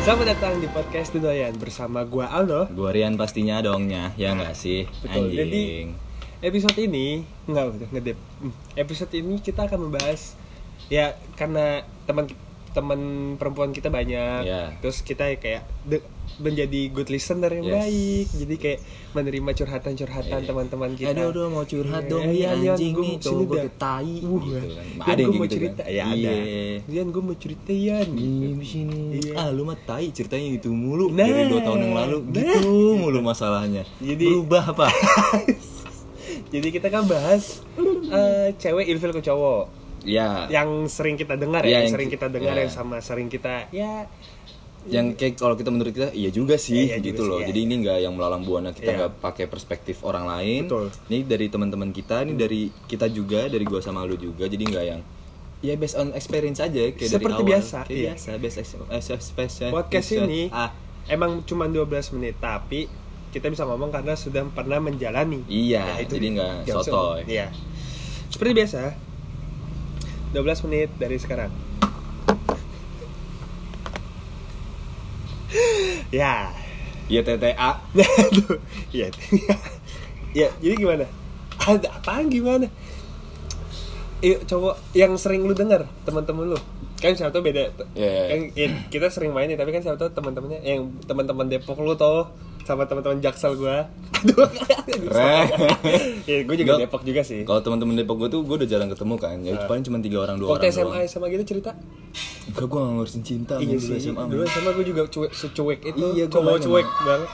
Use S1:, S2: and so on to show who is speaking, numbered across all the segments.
S1: Selamat datang di podcast Tudoyan bersama gua Aldo.
S2: Gue Rian pastinya dongnya, ya nggak sih?
S1: Nah, Betul,
S2: Anjing.
S1: jadi episode ini nggak udah ngedep. Hmm, Episode ini kita akan membahas ya karena teman teman perempuan kita banyak.
S2: Iya.
S1: Terus kita kayak de- menjadi good listener yang
S2: Yes.
S1: baik. Jadi kayak menerima curhatan-curhatan teman-teman kita.
S2: Aduh, aduh, mau curhat dong
S1: Eh,
S2: nih,
S1: Yan,
S2: anjing
S1: gua
S2: nih,
S1: mau kesini
S2: cowok gua
S1: dah.
S2: tuh tai,
S1: Uh,
S2: gitu kan.
S1: Yan,
S2: Ada yang
S1: gua
S2: kayak
S1: mau
S2: gitu kan?
S1: cerita. Ya
S2: Iya.
S1: ada. Yan, gue mau cerita Yan.
S2: Iya, di sini.
S1: Iya.
S2: Ah, lu mah tai ceritanya gitu mulu
S1: Nah.
S2: dari 2 tahun yang lalu gitu mulu masalahnya.
S1: Jadi-
S2: berubah apa?
S1: Jadi kita kan bahas eh, cewek ilfil ke cowok.
S2: Iya.
S1: yang sering kita dengar
S2: Iya,
S1: ya, yang
S2: yang
S1: sering
S2: ki-
S1: kita dengar
S2: iya.
S1: yang sama sering kita ya
S2: yang kayak kalau kita menurut kita iya juga sih
S1: Iya, iya juga
S2: gitu
S1: sih,
S2: loh
S1: iya.
S2: jadi ini nggak yang melalang buana
S1: Iya.
S2: kita nggak pakai perspektif orang lain
S1: Betul. Hmm.
S2: ini dari teman-teman kita ini dari kita juga dari gua sama lu juga jadi nggak yang ya based on experience aja kayak dari
S1: Seperti
S2: awal
S1: biasa,
S2: kayak
S1: iya.
S2: biasa based ex- ex- ex-
S1: podcast
S2: ex-
S1: ini
S2: ah
S1: emang cuma 12 menit tapi kita bisa ngomong karena sudah pernah menjalani
S2: Iya,
S1: Ya,
S2: jadi nggak
S1: jauh
S2: sotoy.
S1: sebelum- iya seperti biasa 12 menit dari sekarang ya
S2: ya TTA
S1: Aduh, iya ya jadi gimana ada apaan gimana Iya, cowok yang sering lu dengar teman-teman lu kan siapa tau beda
S2: Iya.
S1: kan i- kita sering main ya tapi kan siapa tau teman-temannya yang teman-teman Depok lu tuh sama teman-teman Jaksel gua aduh
S2: Re.
S1: ya gue juga
S2: Gak-
S1: Depok Iya. juga sih
S2: kalau teman-teman Depok gue tuh gue udah jarang ketemu kan ya paling cuma tiga orang dua
S1: waktu
S2: orang
S1: SMA
S2: doang
S1: SMA gitu cerita
S2: enggak gue nggak ngurusin cinta
S1: iya
S2: men,
S1: sih
S2: SMA
S1: dulu SMA gue juga cuek secuek itu
S2: Iya, gua
S1: cowok
S2: main
S1: cuek
S2: sama-
S1: banget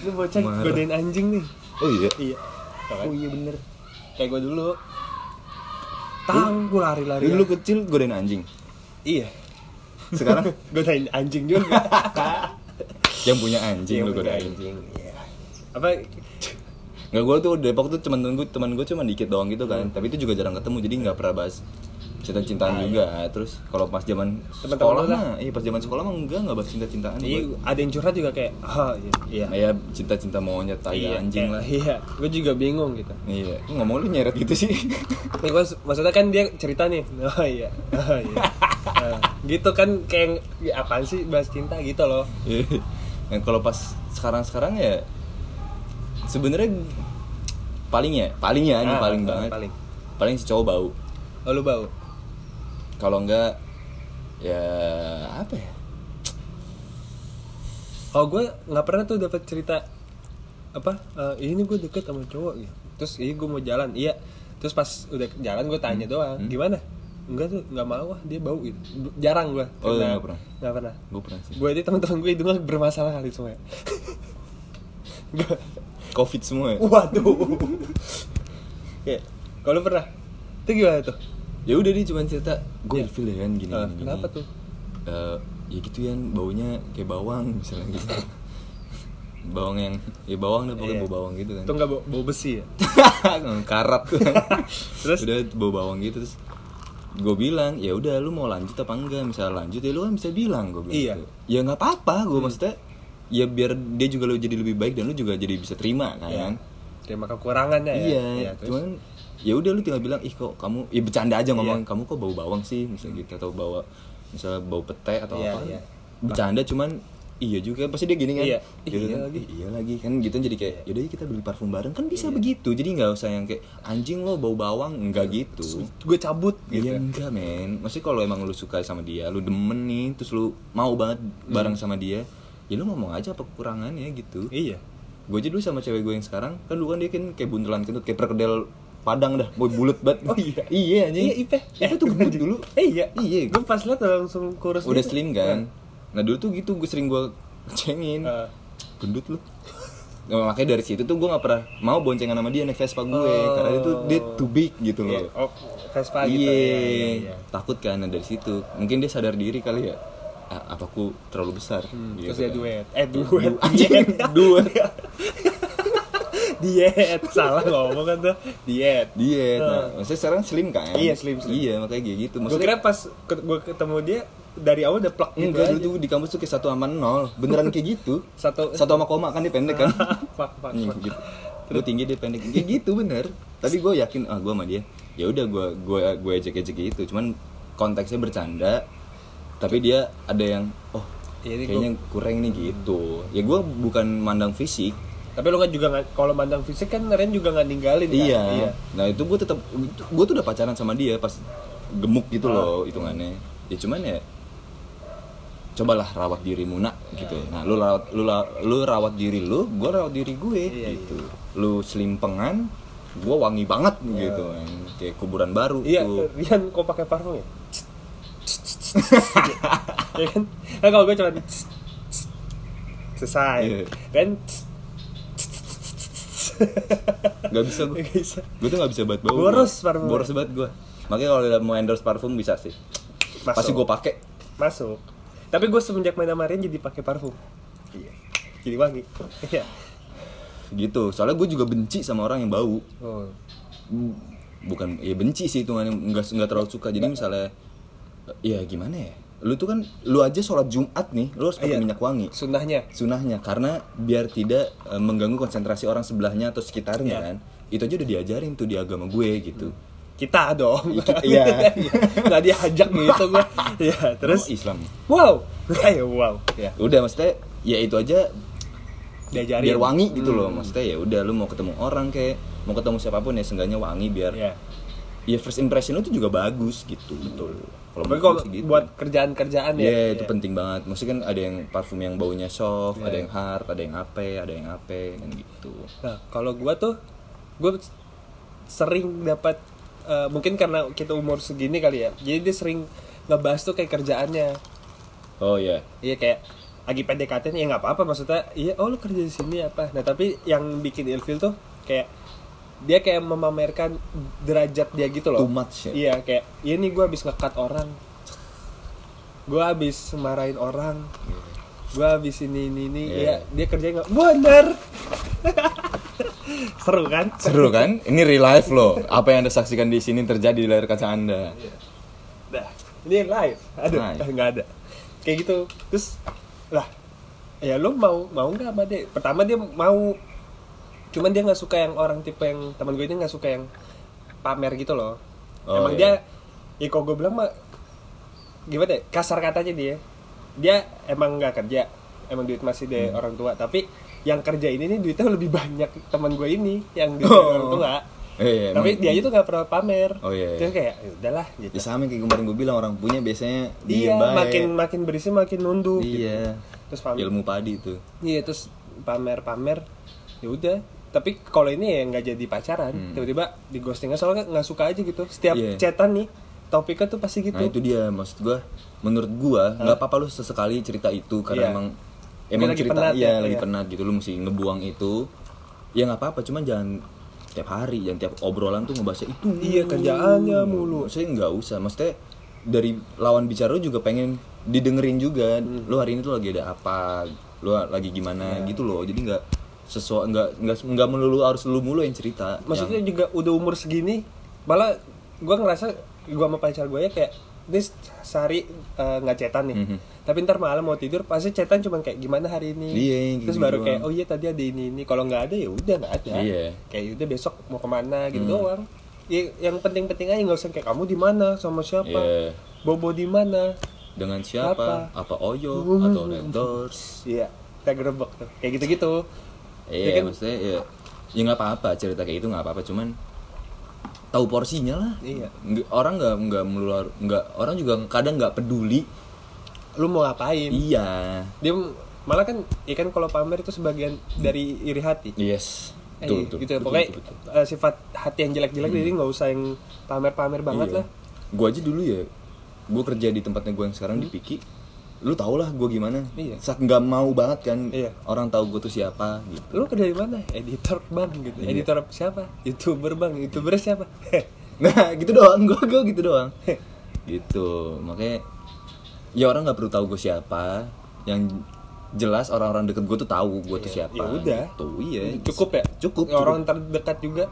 S1: Ini bocah
S2: Marah.
S1: godain anjing nih
S2: oh iya
S1: Iya.
S2: oh iya bener
S1: Kayak gue dulu. Tang, gue lari-lari.
S2: dulu lu kecil godain anjing
S1: Iya.
S2: sekarang
S1: Gue tanya anjing juga.
S2: yang punya anjing lu
S1: punya
S2: godain
S1: anjing. Iya. Apa?
S2: nggak gue tuh Depok tuh teman temen gue teman gue cuma dikit doang gitu
S1: Hmm.
S2: kan tapi itu juga jarang ketemu jadi nggak pernah bahas cinta cintaan juga terus kalau pas zaman
S1: Teman-teman Ah, iya.
S2: sekolah
S1: lu lah.
S2: mah iya pas zaman sekolah mah enggak nggak bahas cinta cintaan
S1: Iya, ada yang curhat juga kayak, ah, iya.
S2: ya cinta cinta monyet tai anjing
S1: kayak-
S2: lah
S1: Iya, gue juga bingung gitu.
S2: iya Lu ngomong lu nyeret gitu sih
S1: Nih, gua, maksudnya kan dia cerita nih, oh iya, oh iya. Nah, gitu kan kayak ya, apaan sih bahas cinta gitu loh.
S2: yang Iya. Nah, kalau pas sekarang sekarang ya sebenarnya paling ya paling ya ini
S1: Ah,
S2: paling
S1: ah,
S2: banget
S1: paling.
S2: paling si cowok bau
S1: Oh, lu bau.
S2: kalau enggak ya apa ya
S1: Kalau gue nggak pernah tuh dapat cerita apa eh, ini gue deket sama cowok gitu. Terus ini gue mau jalan, iya. Terus pas udah jalan gue tanya
S2: Hmm.
S1: doang, gimana? Enggak tuh, nggak mau ah dia bau gitu. B- Jarang gue.
S2: Oh,
S1: karena-
S2: nggak pernah.
S1: Nggak pernah.
S2: gue pernah sih
S1: Gue aja teman-teman gue hidungnya bermasalah kali semua. Gua-
S2: covid semua ya
S1: Waduh. ya, kalau lu pernah? Itu gimana tuh?
S2: ya udah dia cuma cerita gue ilfil ya kan gini,
S1: Ah,
S2: gini, gini.
S1: kenapa tuh?
S2: Eh, ya gitu ya baunya kayak bawang misalnya gitu bawang yang ya bawang deh pokoknya
S1: Iya.
S2: bau bawang gitu kan
S1: Itu nggak bau, bau besi ya?
S2: karat
S1: Terus?
S2: terus udah bau bawang gitu terus gue bilang ya udah lu mau lanjut apa enggak misalnya lanjut ya lu kan bisa bilang gue bilang
S1: Iya. Hmm.
S2: gitu. ya nggak apa-apa gue maksudnya ya biar dia juga lu jadi lebih baik dan lu juga jadi bisa terima kan
S1: Iya. Terima kekurangannya ya.
S2: Iya,
S1: terus?
S2: cuman ya udah lu tinggal bilang ih kok kamu ya bercanda aja ngomong
S1: Iya.
S2: kamu kok bau bawang sih misalnya gitu atau bawa misalnya bau pete atau
S1: Iya,
S2: apa
S1: iya.
S2: bercanda cuman iya juga pasti dia gini kan
S1: Iya.
S2: gitu
S1: Iya
S2: kan,
S1: lagi. Iya.
S2: "Ih, iya lagi kan gitu jadi kayak yaudah yuk kita beli parfum bareng kan bisa begitu jadi nggak usah yang kayak anjing lo bau bawang enggak gitu
S1: gue cabut Iya. gitu.
S2: Iya enggak men Maksudnya kalau emang lu suka sama dia Lu demen nih Terus lu mau banget bareng sama dia Ya lu ngomong aja apa kekurangannya gitu
S1: Hmm. Iya.
S2: Gue aja dulu sama cewek gue yang sekarang Kan dulu kan dia kan kayak buntelan kentut Kayak perkedel Padang dah Boy bulet banget
S1: Oh iya.
S2: Iya anjing
S1: Iya, Ipe.
S2: Ipe tuh gendut dulu
S1: Eh iya.
S2: Iya
S1: Gue pas liat langsung kurus.
S2: Udah
S1: gitu.
S2: slim kan Nah dulu tuh gitu Gue sering gue cengin
S1: Eh.
S2: Gendut lu Nah, makanya dari situ tuh gue gak pernah mau boncengan sama dia naik Vespa gue Karena itu dia too big gitu loh
S1: Oh. Iya. Oh, Vespa
S2: Iya,
S1: gitu. ya, iya, iya.
S2: takut kan dari situ. Mungkin dia sadar diri kali ya. "Ah, apa aku terlalu besar?
S1: Hmm,
S2: Gitu
S1: Terus dia
S2: kan.
S1: duet. Eh duet.
S2: Du- anjing, duet.
S1: Diet. Salah ngomong kan tuh. Diet.
S2: Diet. Nah, maksudnya sekarang slim kan?
S1: Ah. Iya, slim, slim.
S2: Iya, makanya kayak gitu.
S1: Gue
S2: Maksudnya
S1: kira pas gue ketemu dia dari awal udah plak gitu
S2: enggak dulu
S1: aja.
S2: tuh di kampus tuh kayak satu sama nol. Beneran kayak gitu.
S1: Satu-
S2: satu sama koma kan dia pendek kan?
S1: Plak, plak,
S2: Anjing,
S1: plak.
S2: gitu. Lu tinggi dia pendek. Kayak gitu bener. Tapi gue yakin ah gue sama dia. Ya udah gue gue gue ejek-ejek gitu. Cuman konteksnya bercanda tapi dia ada yang oh
S1: Iya, ini
S2: kayaknya kurang nih gitu ya gue bukan mandang fisik
S1: Tapi lu kan juga nggak- kalau mandang fisik kan Ren juga nggak ninggalin kan?
S2: iya. nah itu gue tetap gue tuh udah pacaran sama dia pas gemuk gitu loh hitungannya ya cuman ya cobalah rawat dirimu nak gitu nah lu rawat lu, la- lu rawat diri lu gue rawat diri gue
S1: Iya,
S2: gitu lu selimpengan gue wangi banget gitu kayak kuburan baru
S1: Iya,
S2: tuh
S1: Rian kok pakai parfum ya? ya kan? Nah, kalau gue cuma
S2: Iya.
S1: selesai. Kan
S2: nggak bisa gue
S1: Nggak bisa.
S2: gue tuh nggak bisa buat bau
S1: Boros
S2: gua.
S1: parfum.
S2: boros banget gue makanya kalau mau endorse parfum bisa sih
S1: Masuk.
S2: pasti gue pakai
S1: masuk. Tapi gue semenjak main sama Rian jadi pakai parfum. Iya. Jadi wangi. Iya.
S2: gitu soalnya gue juga benci sama orang yang bau
S1: Oh.
S2: bukan ya benci sih hitungannya nggak nggak terlalu suka jadi misalnya ya gimana ya lu tuh kan lu aja sholat jumat nih lu harus pakai
S1: Iya.
S2: minyak wangi
S1: Sunnahnya.
S2: sunahnya karena biar tidak eh, mengganggu konsentrasi orang sebelahnya atau sekitarnya
S1: Iya.
S2: kan itu aja udah diajarin tuh di agama gue gitu
S1: Kita dong.
S2: Iya, kita- iya.
S1: Nggak diajak gitu gue. Iya, terus
S2: Oh, Iya. Islam
S1: wow. Ayo wow. Ya.
S2: udah maksudnya ya itu aja
S1: Diajarin.
S2: biar wangi gitu loh
S1: Hmm.
S2: maksudnya ya udah lu mau ketemu orang kayak mau ketemu siapapun ya seenggaknya wangi biar
S1: Iya.
S2: ya first impression lu tuh juga bagus gitu betul kalau
S1: Tapi
S2: menurut
S1: kalau
S2: gue sih gitu.
S1: buat kerjaan-kerjaan ya.
S2: Iya, itu penting banget. Maksudnya kan ada yang parfum yang baunya soft,
S1: Iya.
S2: ada yang hard, ada yang ape, ada yang ape, kan gitu.
S1: Nah, kalau gua tuh gua sering dapat eh, mungkin karena kita umur segini kali ya. Jadi dia sering ngebahas tuh kayak kerjaannya.
S2: Oh iya.
S1: Iya kayak lagi PDKT nih, ya nggak apa-apa maksudnya. Iya, oh lu kerja di sini apa? Nah, tapi yang bikin ilfil tuh kayak dia kayak memamerkan derajat dia gitu loh.
S2: Too much ya?
S1: Iya, kayak iya nih gua habis ngekat orang. Gua habis marahin orang. Gua habis ini ini ini.
S2: Iya.
S1: Iya, dia kerjanya nggak bener. Seru kan?
S2: Seru kan? Ini real life loh. Apa yang Anda saksikan di sini terjadi di layar kaca Anda.
S1: Nah, ini live. Aduh,
S2: Live.
S1: eh, nggak ada. Kayak gitu. Terus lah, ya lo mau mau nggak sama dia? Pertama dia mau, cuman dia nggak suka yang orang tipe yang teman gue ini nggak suka yang pamer gitu loh.
S2: Oh,
S1: Emang dia,
S2: iya.
S1: ya kalau gue bilang mah gimana? ya, Kasar katanya dia, dia emang nggak kerja, emang duit masih dari
S2: Hmm.
S1: orang tua. Tapi yang kerja ini nih duitnya lebih banyak teman gue ini yang duit dari
S2: Oh.
S1: orang tua.
S2: Eh,
S1: Tapi
S2: emang-
S1: dia itu nggak pernah pamer.
S2: Oh, iya, iya.
S1: Terus kayak, "Ya udahlah gitu.
S2: Ya sama yang kayak kemarin gue bilang orang punya biasanya
S1: Iya,
S2: diem baik.
S1: makin makin berisi makin nunduk.
S2: Iya.
S1: Terus pamer.
S2: Ilmu padi tuh.
S1: Iya, terus pamer-pamer. Ya udah. Tapi kalau ini ya nggak jadi pacaran, tiba-tiba di ghostingnya soalnya nggak suka aja gitu. Setiap
S2: Hmm. Iya.
S1: chatan nih topiknya tuh pasti gitu.
S2: Nah, itu dia maksud gua. Menurut gua nggak apa-apa lu sesekali cerita itu
S1: Iya.
S2: karena emang
S1: Dia
S2: emang
S1: lagi
S2: cerita
S1: penat
S2: iya,
S1: ya,
S2: lagi
S1: iya.
S2: penat gitu lu mesti ngebuang itu. Ya nggak apa-apa, cuman jangan tiap hari, jangan tiap obrolan tuh ngebahas itu.
S1: Iya, kerjaannya mulu.
S2: Saya nggak usah, maksudnya dari lawan bicara lu juga pengen didengerin juga.
S1: Hmm.
S2: Lu hari ini tuh lagi ada apa? Lu lagi gimana
S1: Iya.
S2: gitu loh. Jadi nggak sesuai nggak nggak nggak melulu harus lu mulu yang cerita.
S1: Maksudnya juga udah umur segini, malah gua ngerasa gua sama pacar gue ya kayak ini sehari eh, nggak chatan nih.
S2: Mhm.
S1: Tapi ntar malam mau tidur pasti chatan cuman kayak gimana hari ini.
S2: Iya,
S1: Terus
S2: gitu
S1: baru
S2: doang.
S1: kayak oh iya tadi ada ini ini. Kalau nggak ada ya udah nggak ada.
S2: Iya. Mhm.
S1: Kayak udah besok mau kemana gitu doang. Ya, yang penting-penting aja nggak usah kayak kamu di mana sama siapa.
S2: Iya.
S1: Bobo di mana?
S2: dengan siapa? Apa, Oyo
S1: Hmm.
S2: atau Red Doors?
S1: Iya, kita gerebek tuh. Kayak gitu-gitu.
S2: Iya,
S1: kan?
S2: maksudnya ya, ya nggak apa-apa cerita kayak itu nggak apa-apa, cuman tahu porsinya lah.
S1: Iya.
S2: Nggak- orang nggak nggak melular, nggak orang juga kadang nggak peduli.
S1: Lu mau ngapain?
S2: Iya.
S1: Dia malah kan ikan kalau pamer itu sebagian dari iri hati.
S2: Iya. Yes.
S1: Eh,
S2: Betul, betul,
S1: gitu ya,
S2: betul,
S1: pokoknya
S2: betul, betul. Hmm.
S1: eh, sifat hati yang jelek-jelek jadi nggak usah yang pamer-pamer banget lah
S2: Gue Iya. aja dulu ya, gue kerja di tempatnya gue yang sekarang di Piki. Lu tau lah gue gimana.
S1: Hmm? Iya.
S2: Sak nggak mau banget kan
S1: Iya.
S2: orang tahu gue tuh siapa gitu.
S1: lu kerja di mana editor bang gitu
S2: Iya.
S1: editor siapa youtuber bang youtuber siapa
S2: Nah gitu doang, gue gue gitu doang. gitu, makanya ya orang nggak perlu tahu gue siapa. Yang jelas orang-orang deket gue tuh tahu gue tuh siapa.
S1: ya udah
S2: Gitu, iya.
S1: cukup ya
S2: Cukup.
S1: orang Iya.
S2: cukup.
S1: terdekat juga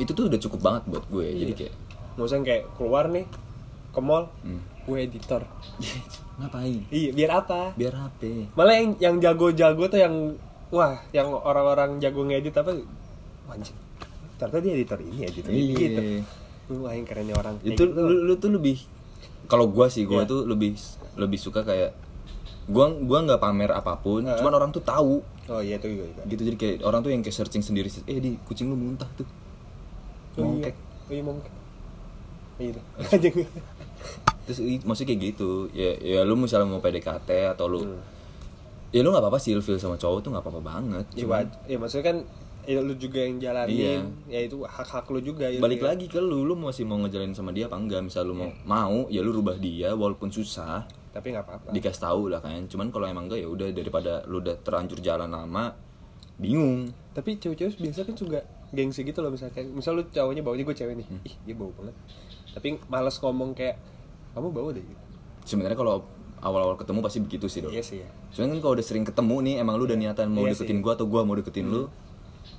S2: Itu tuh udah cukup banget buat gue. Jadi kayak
S1: nggak usah yang kayak keluar nih ke mall
S2: Hmm.
S1: gue editor
S2: ngapain?
S1: iya biar apa
S2: Biar HP.
S1: malah yang yang jago-jago tuh yang wah yang orang-orang jago ngedit apa wajib ternyata dia editor ini editor ini
S2: Iya.
S1: gitu wah yang kerennya orang kayak
S2: Itu
S1: gitu.
S2: lu, lu tuh lebih kalau gua sih gua
S1: Iya.
S2: tuh lebih lebih suka kayak gua gua nggak pamer apapun cuman orang tuh tahu
S1: oh iya itu juga juga.
S2: gitu jadi kayak orang tuh yang kayak searching sendiri eh di kucing lu muntah tuh
S1: Oh iya,
S2: mongkek
S1: oh iya mongkek. Iya, anjing.
S2: terus i- maksudnya kayak gitu ya ya lu misalnya mau PDKT atau lu
S1: Hmm.
S2: ya lu nggak apa-apa sih ilfil sama cowok tuh nggak apa-apa banget
S1: Ya,
S2: Cuman
S1: waj- ya maksudnya kan ya, lu juga yang jalanin, ya itu hak-hak lu juga. ya,
S2: Iya. balik
S1: ya.
S2: lagi ke lu lu masih mau ngejalanin sama dia apa enggak misal lu mau
S1: Iya.
S2: mau ya lu rubah dia walaupun susah
S1: Tapi nggak apa-apa.
S2: dikasih tahu lah kan cuman kalau emang enggak ya udah daripada lu udah terlanjur jalan lama bingung
S1: Tapi cewek-cewek biasa kan juga gengsi gitu loh misalkan. Misal lu cowoknya baunya gue cewek nih.
S2: Hmm.
S1: Ih, dia bau banget. Tapi males ngomong kayak kamu bau deh. gitu.
S2: sebenarnya kalau awal-awal ketemu pasti begitu sih dong
S1: Iya sih ya.
S2: cuman kan kalau udah sering ketemu nih emang lu udah niatan mau
S1: Iya sih.
S2: deketin
S1: Hmm.
S2: gua atau gua mau deketin lu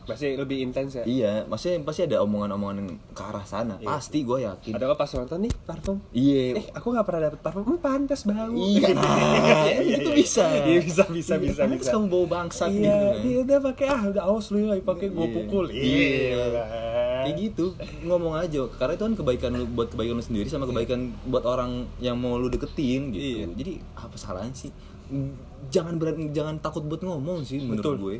S1: Pasti lebih intens ya.
S2: iya maksudnya pasti ada omongan-omongan yang ke arah sana pasti gua yakin
S1: Atau nggak pas nonton nih parfum.
S2: iya
S1: Iya Eh, aku nggak pernah dapet parfum. Hmm, pantas bau.
S2: Iya, itu bisa.
S1: Ah, Iya, bisa, bisa, bisa,
S2: Pantes
S1: bisa.
S2: kamu bau bangsat
S1: Iya,
S2: gitu kan.
S1: iya, udah pakai ah, udah aus lu ya, pakai gue
S2: Iya.
S1: pukul. kan?
S2: Iya. Kayak gitu, ngomong aja. Karena itu kan kebaikan lu buat kebaikan lu sendiri sama kebaikan buat orang yang mau lu deketin gitu.
S1: Iya.
S2: Jadi apa salahnya sih? Jangan berani, jangan takut buat ngomong sih menurut
S1: Betul. Iya.
S2: gue.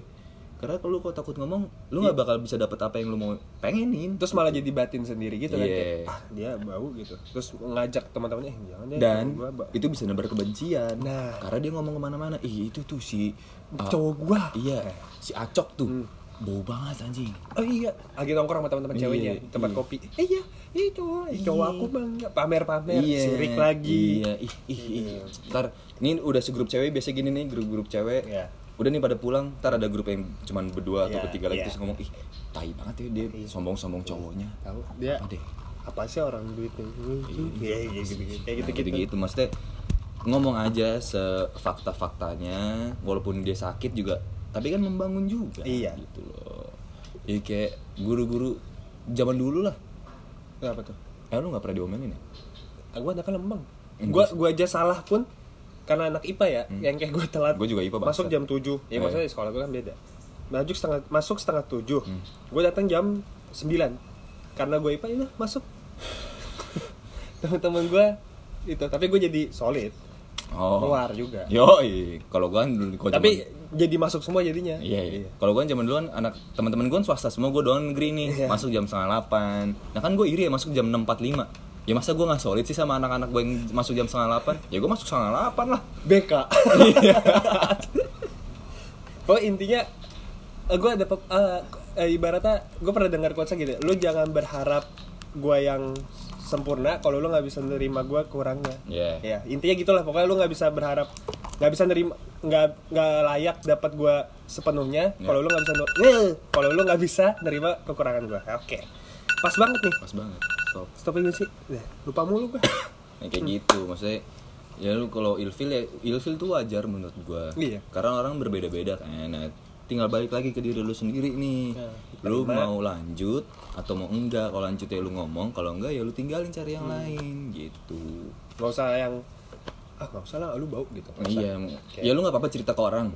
S2: Karena kalau lu kok takut ngomong, lu nggak bakal bisa dapat apa yang lu mau pengenin.
S1: Terus malah jadi batin sendiri gitu kan
S2: Iya.
S1: kayak, ah, dia bau gitu. Terus ngajak teman-temannya, eh, jangan deh.
S2: Dan
S1: gua bau.
S2: itu bisa nebar kebencian.
S1: Nah.
S2: Karena dia ngomong kemana-mana, ih itu tuh si ah,
S1: "Eh, cowok Hmm. gua.
S2: Iya, si Acok tuh bau banget anjing.
S1: Oh iya, lagi nongkrong sama teman-teman
S2: Iya,
S1: ceweknya di tempat
S2: iya.
S1: kopi. Eh, iya, iya cowok, iya, cowok aku bang pamer-pamer,
S2: Iya,
S1: sirik lagi.
S2: Iya, ih, ih, ih. Ntar, ini udah segrup cewek biasa gini nih, grup-grup cewek.
S1: Iya.
S2: Udah nih pada pulang, ntar ada grup yang cuman berdua atau
S1: Iya,
S2: bertiga lagi
S1: iya.
S2: terus ngomong, ih, tai banget ya dia sombong-sombong cowoknya.
S1: Tahu dia
S2: Apa deh?
S1: apa sih orang duitnya? Iya, iya gitu-gitu. Kayak
S2: Nah,
S1: gitu-gitu.
S2: gitu-gitu, maksudnya ngomong aja sefakta-faktanya, walaupun dia sakit juga, tapi kan membangun juga.
S1: Iya.
S2: Gitu loh. Ya kayak guru-guru zaman dulu lah.
S1: Apa tuh?
S2: Eh, lu gak pernah diomelin ya?
S1: Ah, gua anaknya lembang.
S2: Iya,
S1: Gua gua aja salah pun karena anak IPA ya, yang kayak gua telat.
S2: Hmm. Gua juga IPA, bangsa.
S1: Masuk jam 7. Ya
S2: Eh.
S1: maksudnya di sekolah gua kan beda. Masuk setengah masuk setengah 7.
S2: Hmm.
S1: Gua datang jam 9. Karena gua IPA ya masuk. Teman-teman gua itu, tapi gua jadi solid.
S2: Oh.
S1: Keluar juga.
S2: Yoi, kalau gua kan dulu gua
S1: tapi jadi masuk semua jadinya.
S2: Iya, iya. Kalau gue zaman dulu kan anak teman-teman gue swasta semua gue doang negeri nih, masuk jam setengah delapan. Nah kan gue iri ya masuk jam enam empat lima. Ya masa gue nggak solid sih sama anak-anak gue yang masuk jam setengah delapan? Ya gue masuk setengah delapan lah.
S1: BK. Oh intinya gue ada pe- eh, eh, ibaratnya gue pernah dengar quotesnya gitu. Lu jangan berharap gue yang sempurna kalau lu nggak bisa nerima gue kurangnya.
S2: Iya.
S1: Ya intinya gitulah pokoknya lu nggak bisa berharap nggak bisa nerima nggak nggak layak dapat gue sepenuhnya kalau lu nggak bisa nu- Eh, kalau lu nggak bisa nerima kekurangan gue. Oke. Pas banget nih.
S2: Pas banget. Stop.
S1: Stop aja sih. Dah, Lupa mulu gue.
S2: Nah, kayak gitu maksudnya ya lu kalau ilfil ya ilfil tuh wajar menurut gua
S1: Iya.
S2: karena orang berbeda-beda kan nah, tinggal balik lagi ke diri lu sendiri nih
S1: Nah,
S2: lu mau lanjut atau mau enggak kalau lanjut ya lu ngomong kalau enggak ya lu tinggalin cari yang lain gitu
S1: Gak usah yang ah gak usah lah lu bau gitu. Nggak usah.
S2: Iya, ya lu nggak apa-apa cerita ke orang.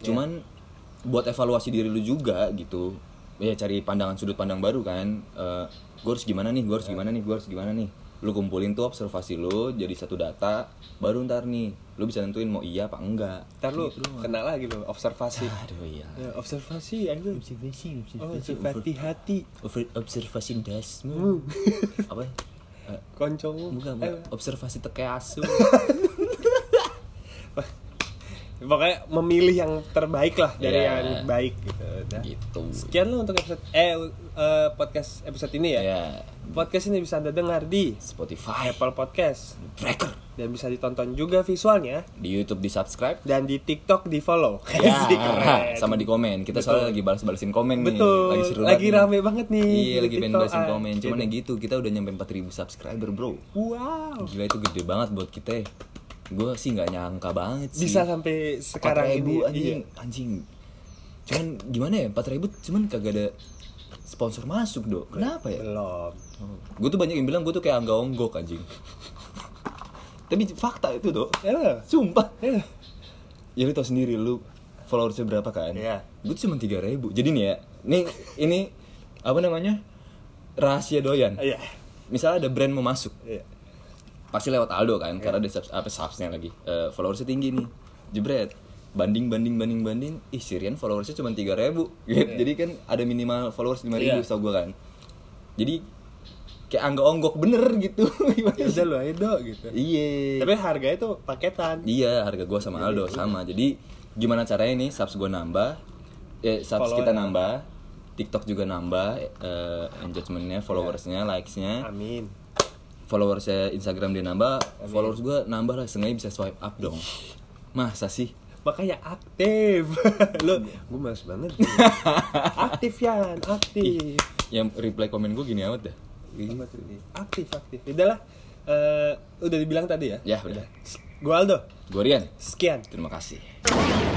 S2: Cuman
S1: Iya.
S2: buat evaluasi diri lu juga gitu. Ya cari pandangan sudut pandang baru kan. Eh gue harus gimana nih?
S1: Iya.
S2: Gue harus gimana nih? Gue harus gimana nih? Lu kumpulin tuh observasi lu jadi satu data. Baru ntar nih, lu bisa nentuin mau iya apa enggak.
S1: Ntar lu kena lagi lu observasi.
S2: Aduh iya.
S1: Ya, observasi aja.
S2: Observasi,
S1: Oh, observasi hati.
S2: observasi dasmu.
S1: Hmm.
S2: apa? ya? Eh,
S1: Konco.
S2: bukan, bukan. observasi teke asu.
S1: Eh, pokoknya memilih yang terbaik lah dari
S2: Iya.
S1: yang baik gitu. Nah,
S2: gitu.
S1: Sekian lah untuk episode eh eh, podcast episode ini ya.
S2: Ya,
S1: Podcast ini bisa Anda dengar di
S2: Spotify,
S1: Apple Podcast
S2: Breaker.
S1: dan bisa ditonton juga visualnya
S2: di YouTube di subscribe
S1: dan di TikTok di follow.
S2: ya
S1: Jadi Iya keren.
S2: sama di komen kita soalnya lagi balas balasin komen
S1: Betul.
S2: nih lagi seru
S1: Lagi
S2: banget nih.
S1: rame banget nih
S2: iya
S1: di
S2: lagi pengen balasin
S1: TikTokan.
S2: komen cuman ya gitu kita udah nyampe 4000 subscriber bro
S1: Wow.
S2: gila itu gede banget buat kita ya gue sih nggak nyangka banget sih
S1: Bisa sampai sekarang ini.
S2: 4000
S1: Iya.
S2: anjing anjing cuman gimana ya 4000 cuman kagak ada sponsor masuk dok kenapa ya
S1: Belum.
S2: gue tuh banyak yang bilang gue tuh kayak angga onggok anjing tapi fakta itu dok
S1: Ya.
S2: sumpah
S1: Ya.
S2: ya lu tau sendiri lu followersnya berapa kan?
S1: Iya.
S2: Gue cuma tiga ribu. Jadi nih ya, nih ini apa namanya rahasia doyan.
S1: Iya.
S2: Misalnya ada brand mau masuk,
S1: Iya.
S2: pasti lewat Aldo kan karena ada subs apa subsnya lagi Eh, followersnya tinggi nih jebret banding banding banding banding ih Sirian followersnya cuma tiga ribu jadi kan ada minimal followers lima ribu
S1: Iya.
S2: tau gue kan jadi kayak angga onggok bener gitu Gimana
S1: ya
S2: sih?
S1: udah lu aja dok gitu
S2: iya
S1: tapi harganya tuh paketan
S2: Iya, harga gua sama Aldo sama. Jadi gimana caranya nih subs gua nambah? Eh, subs
S1: Follower
S2: kita nambah, TikTok juga nambah eh, engagement-nya, followers-nya, likes-nya.
S1: amin
S2: Followers-nya Instagram dia nambah, followers gua nambah lah, sengaja bisa swipe up dong. Masa sih?
S1: makanya aktif lu
S2: Iya.
S1: gue males banget aktif Yan aktif
S2: Yang reply komen gua gini amat dah. Iya.
S1: Apa tuh ini? aktif aktif udahlah eh udah dibilang tadi ya
S2: Ya, udah.
S1: gue Aldo
S2: Gua Rian.
S1: sekian
S2: Terima kasih.
S1: Bye.